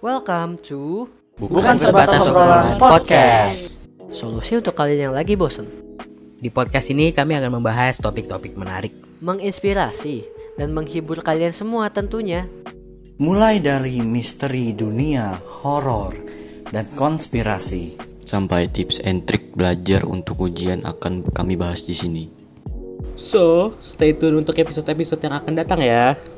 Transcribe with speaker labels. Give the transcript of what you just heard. Speaker 1: Welcome to
Speaker 2: Bukan sebatas obrolan podcast.
Speaker 1: Solusi untuk kalian yang lagi bosen,
Speaker 3: Di podcast ini kami akan membahas topik-topik menarik.
Speaker 1: menginspirasi, dan menghibur kalian semua tentunya.
Speaker 2: Mulai dari misteri dunia horor dan konspirasi.
Speaker 4: sampai tips and trick belajar untuk ujian akan kami bahas di sini.
Speaker 5: So, stay tune untuk episode-episode yang akan datang ya.